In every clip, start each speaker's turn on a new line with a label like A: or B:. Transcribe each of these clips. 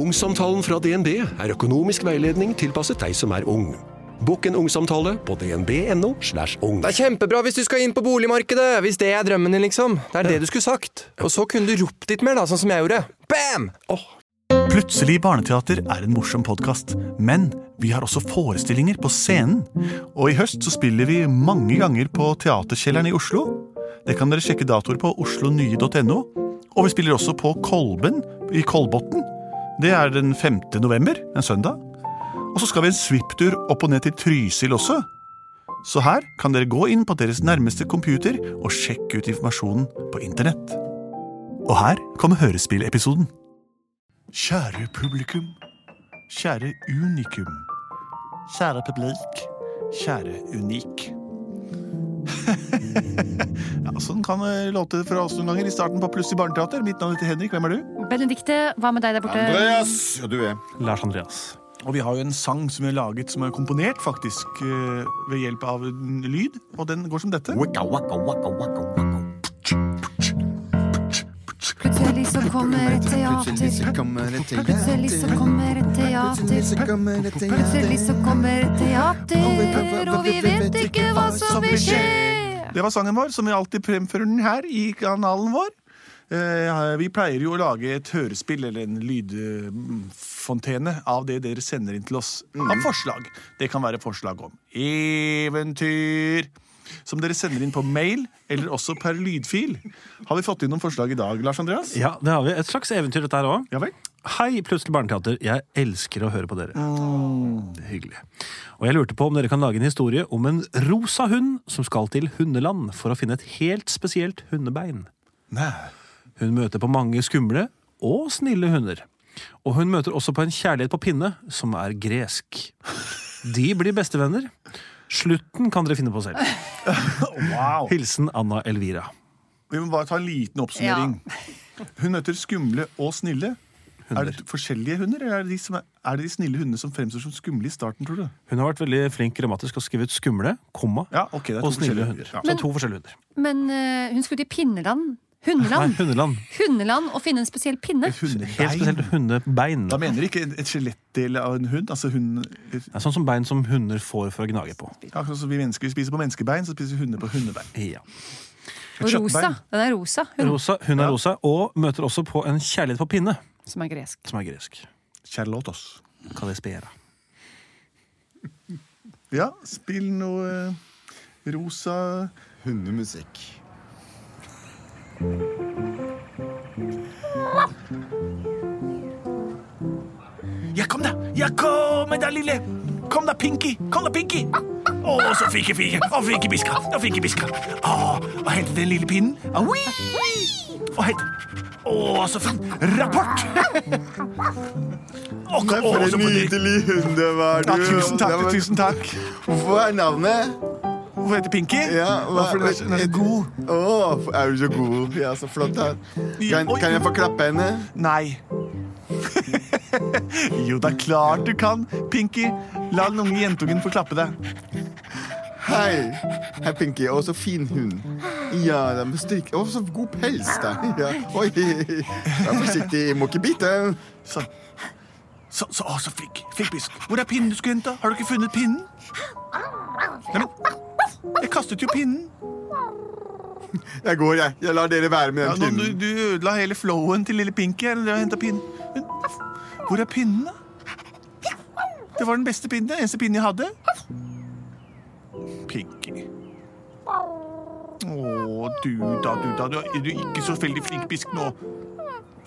A: Ungsamtalen fra DNB er økonomisk veiledning tilpasset deg som er ung. Bokk en ungsamtale på dnb.no. slash ung.
B: Det er kjempebra hvis du skal inn på boligmarkedet! Hvis det er drømmen din, liksom. Det er det du skulle sagt. Og så kunne du ropt litt mer, da, sånn som jeg gjorde. Bam!
C: Plutselig barneteater er en morsom podkast, men vi har også forestillinger på scenen. Og i høst så spiller vi mange ganger på Teaterkjelleren i Oslo. Det kan dere sjekke datoer på oslonye.no. Og vi spiller også på Kolben i Kolbotn. Det er den 5. november, en søndag. Og så skal vi en svipptur opp og ned til Trysil også. Så her kan dere gå inn på deres nærmeste computer og sjekke ut informasjonen på internett. Og her kommer hørespillepisoden. Kjære publikum. Kjære unikum. Kjære publik. Kjære unik. ja, sånn kan det låte fra oss noen ganger i starten på Pluss i barneteater. Mitt navn heter Henrik. Hvem er du?
D: Benedikte, hva med deg der borte?
E: Andreas! Ja, du er.
C: Lars Andreas. Og vi har jo en sang som vi har laget, som er komponert faktisk eh, ved hjelp av en lyd. Og den går som dette.
E: Waka, waka, waka, waka, waka.
D: Plutselig så kommer et
E: Plutselig så
D: teater.
E: kommer et teater.
D: Plutselig så kommer et
E: Plutselig
D: teater.
E: så kommer et teater.
D: Plutselig så kommer et teater, og vi vet ikke hva som vil skje.
C: Det var sangen vår, som vi alltid fremfører den her i kanalen vår. Eh, Vi pleier jo å lage et hørespill eller en lydfontene av det dere sender inn til oss av forslag. Det kan være forslag om eventyr, som dere sender inn på mail eller også per lydfil. Har vi fått inn noen forslag i dag, Lars Andreas?
F: Ja, det har vi. Et slags eventyr, dette her òg.
C: Ja vel?
F: Hei, Plutselig barneteater. Jeg elsker å høre på dere. Det er hyggelig. Og jeg lurte på om dere kan lage en historie om en rosa hund som skal til hundeland for å finne et helt spesielt hundebein.
C: Nei.
F: Hun møter på mange skumle og snille hunder. Og hun møter også på en kjærlighet på pinne, som er gresk. De blir bestevenner. Slutten kan dere finne på selv.
C: Wow.
F: Hilsen Anna Elvira.
C: Vi må bare ta en liten oppsummering. Hun møter skumle og snille. Er det forskjellige hunder, eller er det, de som er, er det de snille hundene som fremstår som skumle i starten, tror du?
F: Hun har vært veldig flink grammatisk og skrevet skumle, komma,
C: Ja, ok, det er to
F: og snille
C: forskjellige-
F: hunder.
C: ja.
F: Så to forskjellige hunder.
D: Men eh, hun skulle til Pinneland.
F: Nei,
D: Hundeland.
F: hundeland.
D: Hundeland og finne en spesiell pinne.
C: Et hundebein?
F: Helt spesielt hundebein.
C: Da mener de ikke et skjelettdel av en hund. Altså hun,
F: Det er sånn som bein som hunder får for å gnage på.
C: akkurat som vi mennesker spiser på menneskebein, så spiser hunder på hundebein.
F: Ja.
D: Og rosa.
C: kjøttbein.
D: Den er rosa, hun
F: Rosa, hun er rosa, og møter også på en kjærlighet på pinne,
D: som er gresk.
F: som er gresk.
C: Charlotos.
F: Kalispera.
C: Ja, spill noe eh, rosa
E: Hundemusikk.
C: Ja, kom da! Ja, kom da, lille! Kom da, Pinky! Kom da, Pinky! Å, så fikk jeg fike! Å, fikk jeg biska! Å, fikk jeg biska! Å, og hente den lille pinnen. Å, ui! Og hente... Å, så fin rapport! Å, kom, å, så
E: For en
C: på dyr.
E: nydelig hund det var, du.
C: Ja, tusen takk,
E: Det var-
C: tusen takk.
E: Hvorfor er navnet?
C: Hvorfor heter Pinky?
E: Ja, hva-
C: Hvorfor er den er så god?
E: Å, er du så god? Ja, så flott. da. Kan,
C: Oi.
E: kan jeg få klappe henne?
C: Nei. jo, det er klart du kan. Pinky, la den unge jentungen få klappe deg.
E: Hei. Hei, Pinky. Å, så fin hund. Ja, den er styrk. Å, så god pels, da. Ja. Oi. Vær forsiktig, må ikke bite.
C: Så, så, så, å, så fikk, fikk bisk. Hvor er pinnen du skulle hente? Har du ikke funnet pinnen? Nei, men, jeg kastet jo pinnen.
E: Jeg går, jeg. Jeg lar dere være med
C: Ja,
E: den
C: nå, du,
E: pinnen.
C: du ødela hele flowen til lille Pinky. Eller du har hentet pinnen. Men, hvor er pinnen, da? Det var den beste pinnen. Den eneste pinnen jeg hadde. Pinky. Å, du da, du da. Du er du er ikke så veldig flink bisk nå.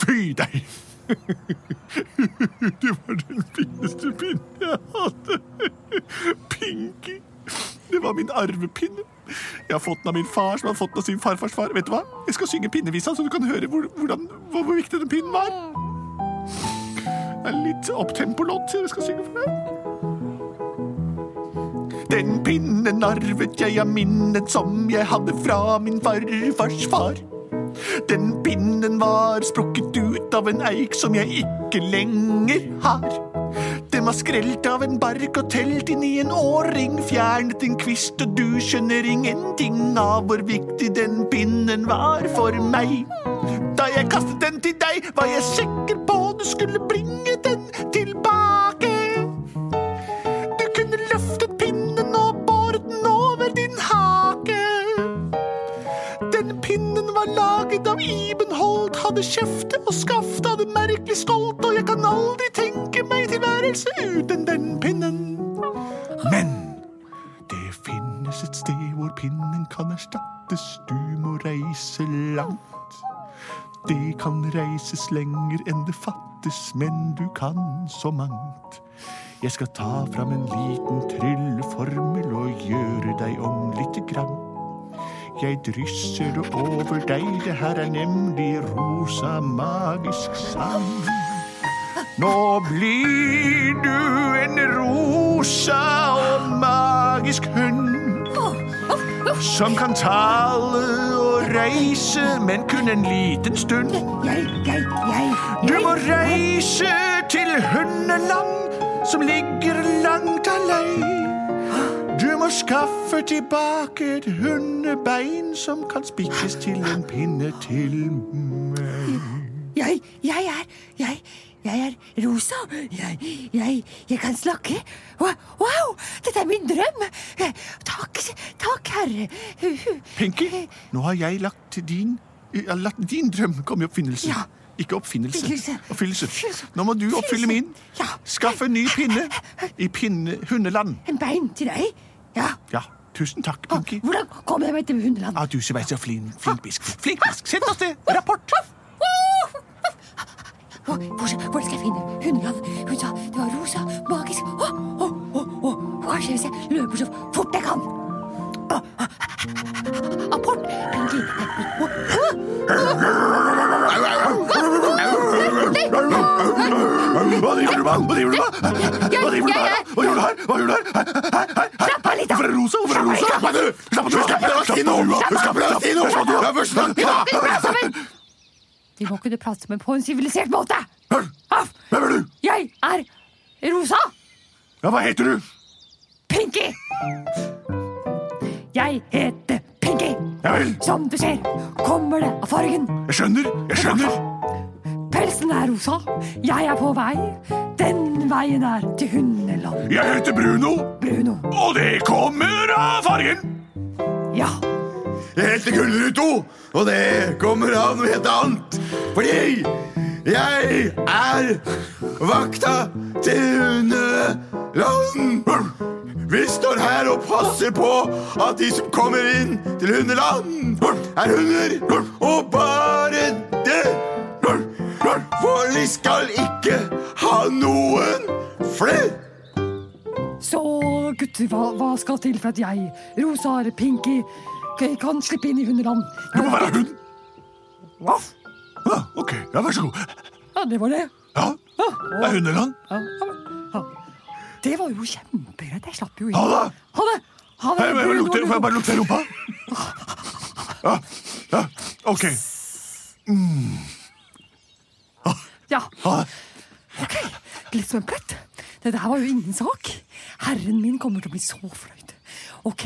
C: Fy deg! Det var den fineste pinnen jeg hadde. Pinky. Det var min arvepinne. Jeg har fått den av min far, som har fått den av sin farfars far. Vet du hva? Jeg skal synge pinnevisa, så du kan høre hvor, hvordan, hvor, hvor viktig den pinnen var. Det er litt opptempo-låt jeg skal synge for deg. Den pinnen arvet jeg av minnet som jeg hadde fra min farfars far. Den pinnen var sprukket ut av en eik som jeg ikke lenger har. Den var skrelt av en bark og telt inn i en årring, fjernet en kvist, og du skjønner ingenting av hvor viktig den pinnen var for meg. Da jeg kastet den til deg, var jeg sikker på du skulle bringe den
G: umåtelig stolt, og jeg kan aldri tenke meg tilværelse uten den pinnen. Men det finnes et sted hvor pinnen kan erstattes. Du må reise langt. Det kan reises lenger enn det fattes, men du kan så mangt. Jeg skal ta fram en liten trylleformel og gjøre deg om lite grann. Jeg drysser det over deg, det her er nemlig rosa magisk sang. Nå blir du en rosa og magisk hund. Som kan tale og reise, men kun en liten stund.
H: Jeg, jeg, jeg,
G: Du
H: jeg.
G: må reise til hundeland som ligger langt alene. Du må skaffe tilbake et hundebein som kan spikkes til en pinne til meg.
H: Jeg, jeg er Jeg, jeg er rosa. Jeg, jeg, jeg kan snakke. Wa- Wow, dette er min drøm. Eh, Takk, takk, herre. Hu- hu.
G: Pinky, nå har jeg lagt til din, jeg har latt din drøm komme i oppfinnelse.
H: Ja.
G: Ikke oppfinnelse.
H: Oppfyllelse.
G: oppfyllelse. Nå må du oppfylle min.
H: Ja.
G: Skaff en ny pinne i pinne hundeland.
H: En bein til deg? Ja.
G: Ja, tusen takk,
H: Ah,
G: Pinky.
H: Hvordan kommer jeg meg til hundeland?
G: Ja, du som er så flin, flinkbisk. Flinkbisk, sett oss det. Rapport.
H: Hvor, hvor, hvor skal jeg finne hundeland? Hun sa det var rosa, magisk Å, å, å, å. Kanskje hvis jeg løper så fort jeg kan. Å, å. Apport! Pinky. Å, å.
G: Hva driver du med? Hva driver du med? Hva driver du med? Hva gjør du her? Hva gjør du her? Hei, hei, hei.
H: Slapp av litt, da.
G: Hvorfor er det rosa? Hvorfor er det rosa?
H: Slapp
G: av, du! Slapp av, du! Slapp av, si noe! Slapp av, si noe! Slapp av, du! Slapp av,
H: Ikke prate sammen! De må kunne prate sammen på en sivilisert måte. Aff.
G: Hvem er du?
H: Jeg er rosa.
G: Ja, hva heter du?
H: Pinky. Jeg heter Pinky.
G: Ja vel,
H: Som du ser, kommer det av fargen.
G: jeg skjønner, jeg skjønner.
H: Pelsen er rosa. Jeg er på vei. Den veien er til hundeland,
G: Jeg heter Bruno,
H: Bruno.
G: og det kommer av fargen.
H: Ja.
E: Jeg heter Gullruto, og det kommer av noe helt annet. Fordi jeg er vakta til hundeland. Vi står her og passer på at de som kommer inn til hundeland, er hunder og bare det. For vi skal ikke ha noen flere.
H: Så gutter, hva, hva skal til for at jeg, rosa eller pinky, k- kan slippe inn i hundeland?
G: Du må være hund.
H: Voff.
G: Ja, ok, ja, vær så god.
H: Ja, det var det.
G: Ja, det er hundeland.
H: Ja, ja, ja. Det var jo kjempegreit. Jeg slapp jo inn.
G: Ha det!
H: Ha det! Ha det,
G: Hei, jeg,
H: Bruno,
G: lukter,
H: Bruno.
G: får jeg bare lukte rumpa? Ja, ja, ok.
H: Ja,
G: Ha det.
H: ok. Litt som en plett. Dette her var jo ingen sak. Herren min kommer til å bli så fornøyd. Ok,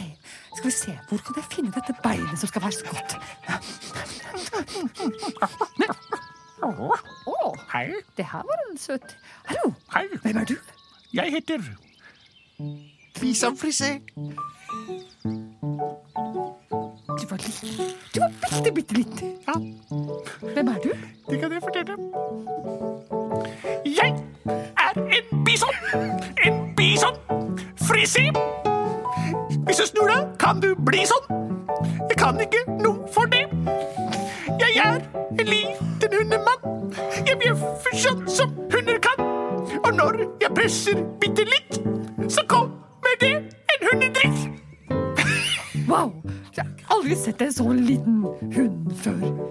H: skal vi se. Hvor kan jeg finne dette beinet som skal være så godt? Å,
G: Hei,
H: det her var en søt Hallo,
G: hei.
H: hvem er du?
G: Jeg heter
H: Du var liten. Du var bitte, bitte liten. Hvem er du?
G: Det kan jeg fortelle. Jeg er en bison. En bison. Frisé. Hvis du snur deg, kan du bli sånn. Jeg kan ikke noe for det. Jeg er en liten hundemann. Jeg bjeffer sånn som hunder kan. Og når jeg presser bitte litt, så kommer det en hundedrikk.
H: Wow! Jeg har aldri sett en så liten hund før.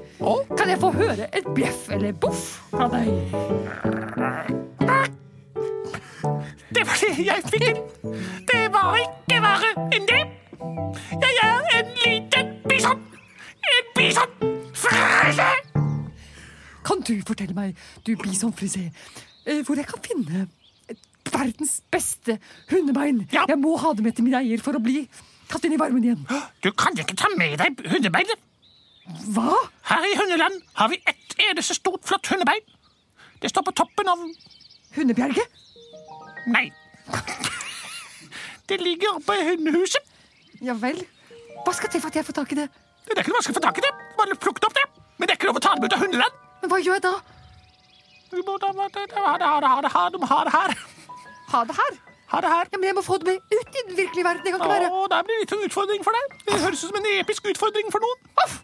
H: Kan jeg få høre et bjeff eller boff fra deg?
G: Det var det jeg fikk. Det var ikke verre enn det. Jeg er en liten bison. En bison. Frese!
H: Kan du fortelle meg, du bison frisé, eh, hvor jeg kan finne et verdens beste hundebein?
G: Ja.
H: Jeg må ha det med til min eier for å bli tatt inn i varmen igjen.
G: Du kan ikke ta med deg hundebeinet.
H: Hva?
G: Her i hundeland har vi ett eneste stort, flott hundebein. Det står på toppen av
H: Hundebjerge?
G: Nei. Det ligger oppe i hundehuset.
H: Ja vel. Hva skal til for at jeg får tak i det?
G: Det er ikke noe vanskelig å få tak i det. Bare plukk det opp, det. Men det er ikke lov å ta det med ut av hundeland.
H: Men hva gjør jeg da?
D: Ha det her.
I: Ha det her.
D: Ja, men jeg må få det med ut i den virkelige verden. Jeg kan ikke være
I: Å, det blir litt av en utfordring for deg. Det høres ut som en episk utfordring for noen.
D: Aff!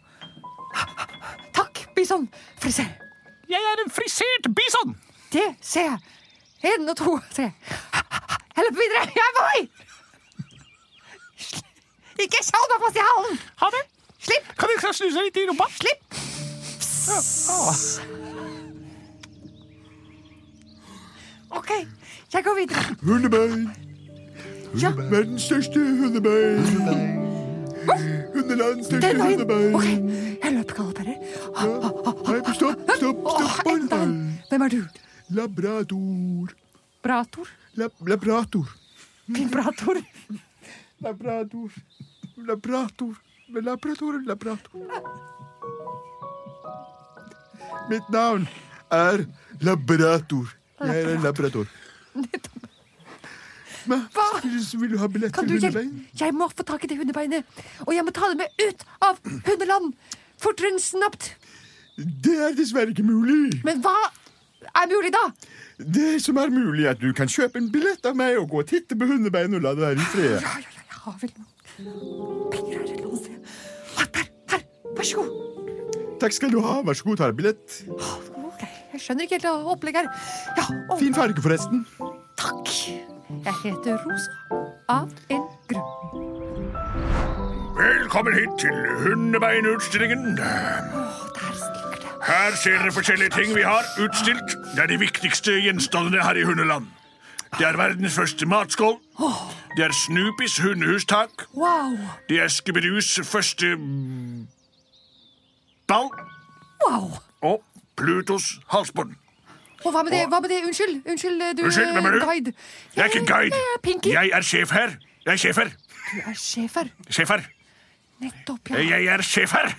D: Takk, Bison. Friser.
I: Jeg er en frisert bison.
D: Det ser jeg. Én og to, tre. Jeg løper videre. Jeg er på vei! Ikke kjall meg fast i halen!
I: Ha det.
D: Slipp!
I: Kan jeg snuse deg litt i rumpa?
D: Slipp! OK, jeg går videre.
E: Hundebein.
D: Ja.
E: Verdens største hundebein. Hundelands største
D: Den veien.
E: hundebein.
D: OK, jeg løper galopperer.
E: Nei, stopp, stopp,
D: Åh,
E: stopp.
D: enda en. Hvem er du?
E: Labrador.
D: Brator?
E: Lab labrator.
D: Vibrator?
E: Labrador. Labrator. Labrador. Labrator. Mitt navn er Labrator. Jeg er en labrador.
D: Nettopp.
E: Hva?
D: Hva?
E: Vil du ha billett
D: Kan
E: til
D: du hjelpe?
E: hundebein?
D: Jeg må få tak i det hundebeinet. Og jeg må ta det med ut av hundeland! Fortere enn snapt.
E: Det er dessverre ikke mulig.
D: Men hva er mulig, da?
E: Det som er mulig, er at du kan kjøpe en billett av meg og gå og titte på hundebein og la det være i fred.
D: Ja, ja, ja, jeg har vel noen penger her et eller annet sted. Ah, Der! Her! Vær så god.
E: Takk skal du ha. Vær så god, ta en billett.
D: Ah, ok, Jeg skjønner ikke helt opplegget her. Ja, å,
E: Fin farge, forresten.
D: takk. Jeg heter Rosa av en grunn.
J: Velkommen hit til Hundebeinutstillingen.
D: Å, der stikker det.
J: Her ser dere forskjellige ting vi har utstilt. Det er de viktigste gjenstandene her i hundeland. Det er verdens første matskål. Det er Snoopys hundehustak.
D: Wow!
J: Det er Skibbedus første mm, ball.
D: wow.
J: Og Plutos halsbånd.
D: Og hva med det? hva med det? Unnskyld, unnskyld, du
J: Unnskyld, hvem
D: eh,
J: er du?
D: guide.
J: Jeg er ikke guide.
D: Jeg er Pinky.
J: Jeg er sjef her. Jeg er sjef her.
D: Du er sjef her.
J: Sjef her.
D: Nettopp, ja.
J: Jeg er sjef her.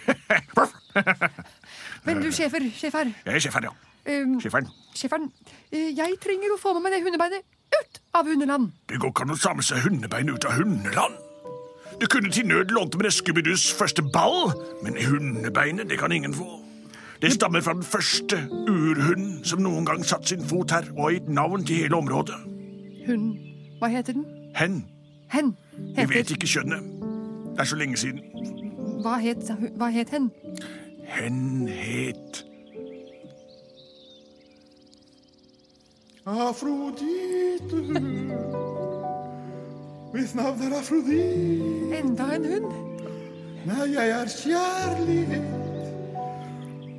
D: Men du, sjefer, sjef her.
J: Jeg er sjef her, ja.
D: Um,
J: Sjeferen.
D: sjeferen, eh, jeg trenger å få med meg det hundebeinet ut av hundeland.
J: Det går ikke an å samle seg hundebein ut av hundeland. Du kunne til nød lånt med Eskubidus første ball, men hundebeinet det kan ingen få. Det stammer fra den første urhunden som noen gang satte sin fot her og har gitt navn til hele området.
D: Hun Hva heter den?
J: Hen.
D: Hen.
J: Vi vet
D: Heter,
J: ikke kjønnet. Det er så lenge siden.
D: hva, het, hva het hen?
J: Hen het
E: Afrodite. Mitt navn er Afrodite.
D: Enda en hund?
E: Nei, jeg er kjærlighet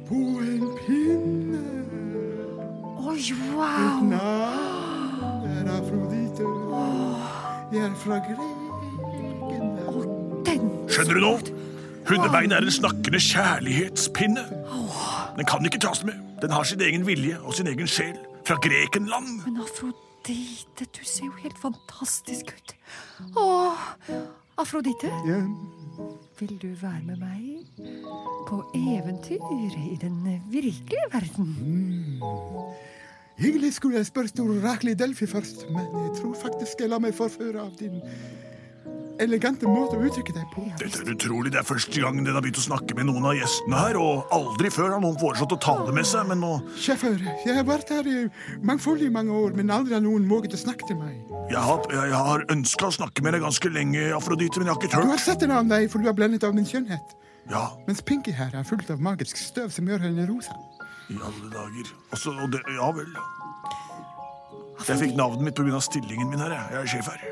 E: på en pinne.
D: Oi, wow!
E: Navn er Afrodite. Jeg er fra Grekenland.
D: Den
J: Skjønner du nå? Hundebein er en snakkende kjærlighetspinne. Den kan ikke tas med. Den har sin egen vilje og sin egen sjel. Fra Grekenland.
D: Men Afrodite, du ser jo helt fantastisk ut. Å, Afrodite,
E: Ja.
D: vil du være med meg på eventyr i den virkelige verden?
E: Egentlig skulle jeg spørre til oraklet i Delphi først, men jeg tror faktisk jeg lar meg forføre av din elegante måte å uttrykke deg på.
J: Dette er utrolig. Det er første gang den har begynt å snakke med noen av gjestene her, og aldri før har noen foreslått å tale med seg, men nå
E: Sjeffer, jeg har vært her i mangfoldig mange år, men aldri har noen våget å snakke til meg.
J: Jeg har, jeg har ønska å snakke med deg ganske lenge, Afrodite, men jeg har ikke
E: Du har
J: tørt.
E: sett en annen deg, for du er blendet av min skjønnhet.
J: Ja,
E: Mens Pinky her er fullt av magisk støv som gjør henne rosa.
J: i alle dager. Også, og det, ja vel. Jeg fikk navnet mitt pga. stillingen min her. jeg. Jeg er sjef her.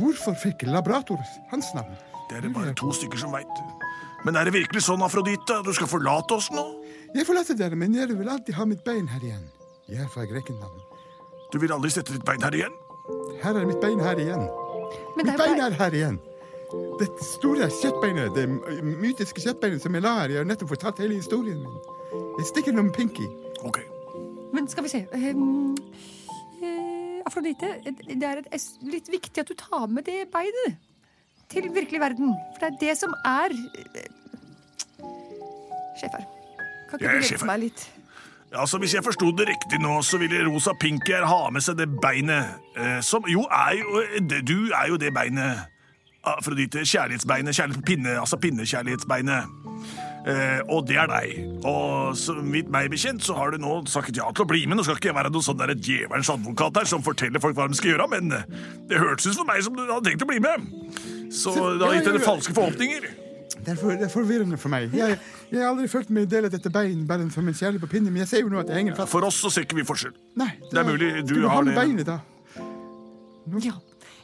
E: Hvorfor fikk Labrator hans navn?
J: Det er det bare to stykker som veit. Men er det virkelig sånn, Afrodite? Du skal forlate oss nå?
E: Jeg forlater dere, men dere vil alltid ha mitt bein her igjen. Jeg er fra Grekenland.
J: Du vil aldri sette ditt bein her igjen?
E: Her er mitt bein her igjen.
D: Men
E: Mitt
D: jo
E: bein
D: bare-
E: er her igjen. Det store kjøttbeinet, det mytiske kjøttbeinet som jeg la her. Jeg har nettopp fortalt hele historien min. Jeg stikker noe med Pinky.
J: Ok.
D: Men skal vi se ehm, eh, Afrodite, det er et, es- litt viktig at du tar med det beinet til virkelig verden. For det er det som er eh, Sjef her. Kan ikke
J: Jeg er
D: du
J: sjef her.
D: hjelpe meg litt?
J: Altså, Hvis jeg forsto det riktig nå, så ville Rosa Pinky her ha med seg det beinet eh, som Jo, er jo eh, det, ah, du er jo det beinet. Afrodite. Kjærlighetsbeinet. Kjærlighet, pinne, altså pinnekjærlighetsbeinet. Eh, og det er deg. Og så vidt meg bekjent så har du nå sagt ja til å bli med. Nå skal ikke jeg være noen sånn der djevelens advokat her som forteller folk hva de skal gjøre, men eh, det hørtes ut for meg som du hadde tenkt å bli med. Så det har
K: ja,
J: gitt
K: ja,
J: dere
K: ja.
J: falske forhåpninger.
K: Det er, for, det er forvirrende for meg. Jeg, jeg har aldri følt meg del av dette bein bare som en kjærlig på pinne, men jeg ser jo nå at jeg henger fast.
J: For oss så ser ikke vi forskjell.
K: Nei,
J: Det er mulig du
K: Skulle
J: har
K: ha med
J: det.
K: beinet, da.
H: Ja.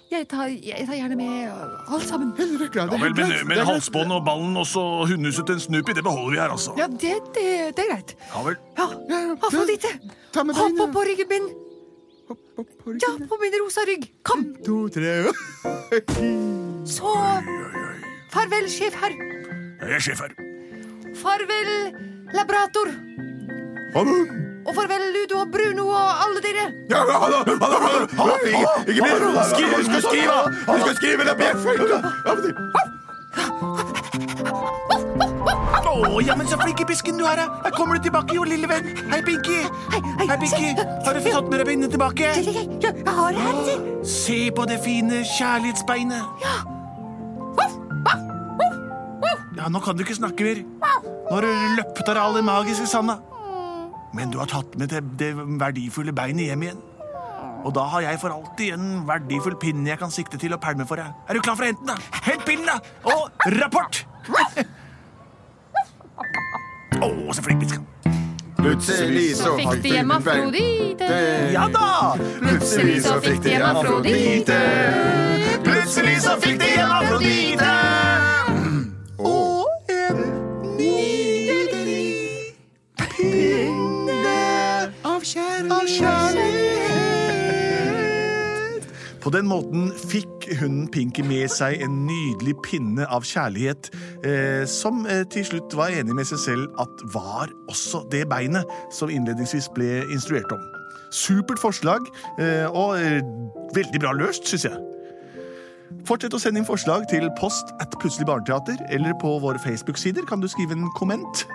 H: Jeg tar, jeg tar gjerne med øh, alt sammen.
K: Hele røkla. Det
J: Ja
K: er
J: vel,
K: helt
J: men,
K: greit. Det
J: men
K: er greit.
J: halsbånd og ballen og så hundehuset til en Snoopy, det beholder vi her, altså.
H: Ja, det, det, det er greit.
J: Ja vel.
H: Ja,
K: Ja, ja,
H: Afrodite,
K: ta med
H: hopp
K: beina.
H: opp på ryggen min.
K: Hopp, hopp, på
H: Ja,
K: ryggen.
H: på min rosa rygg. Kom,
K: To, tre
H: så Farvel, sjef herr.
J: Jeg er sjef her.
H: Farvel, laborator. Og farvel, Ludo og Bruno og alle dere.
E: Ja, men ha det! Ha det! Ha det! Ha det! Ikke- Ikke bli Skriv! Husk å skrive! Husk å skrive! Det blir feil!
I: Å, ja, men så flink i pisken du er, da. Her kommer du tilbake, jo, lille venn. Hei, Pinky.
H: Hei, hei,
I: Pinky.
H: se.
I: Har du fått sånn- med deg beinet tilbake?
H: Jeg, jeg, jeg, jeg har det her. se.
I: Se på det fine eh, kjærlighetsbeinet. Ja, nå kan du ikke snakke mer. Nå har du løpt av all den magiske sanda. Men du har tatt med det, det verdifulle beinet hjem igjen. Og da har jeg for alltid en verdifull pinne jeg kan sikte til å pælme for deg. Er du klar for å hente den, da? Hent pinnen, da! Og rapport! Å, så flink vi skal.
E: Plutselig så
D: Fikk de hjem Afrodite?
C: Eh,
I: Ja da!
E: Plutselig så fikk de hjem Afrodite.
I: Plutselig så fikk de en afrodite. Og en nydelig pinne av kjærlighet.
C: På den måten fikk hunden Pinky med seg en nydelig pinne av kjærlighet, eh, som eh, til slutt var enig med seg selv at var også det beinet som innledningsvis ble instruert om. Supert forslag, eh, og eh, veldig bra løst, syns jeg. Fortsett å sende inn forslag til post at Plutselig barneteater, eller på våre Facebook-sider kan du skrive en komment.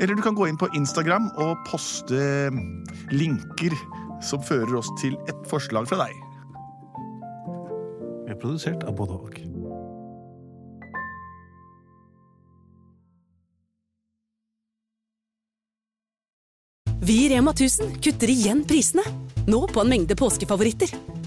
C: Eller du kan gå inn på Instagram og poste eh, linker som fører oss til et forslag fra deg.
F: Vi er produsert av både og.
L: Vi i Rema 1000 kutter igjen prisene. Nå på en mengde påskefavoritter.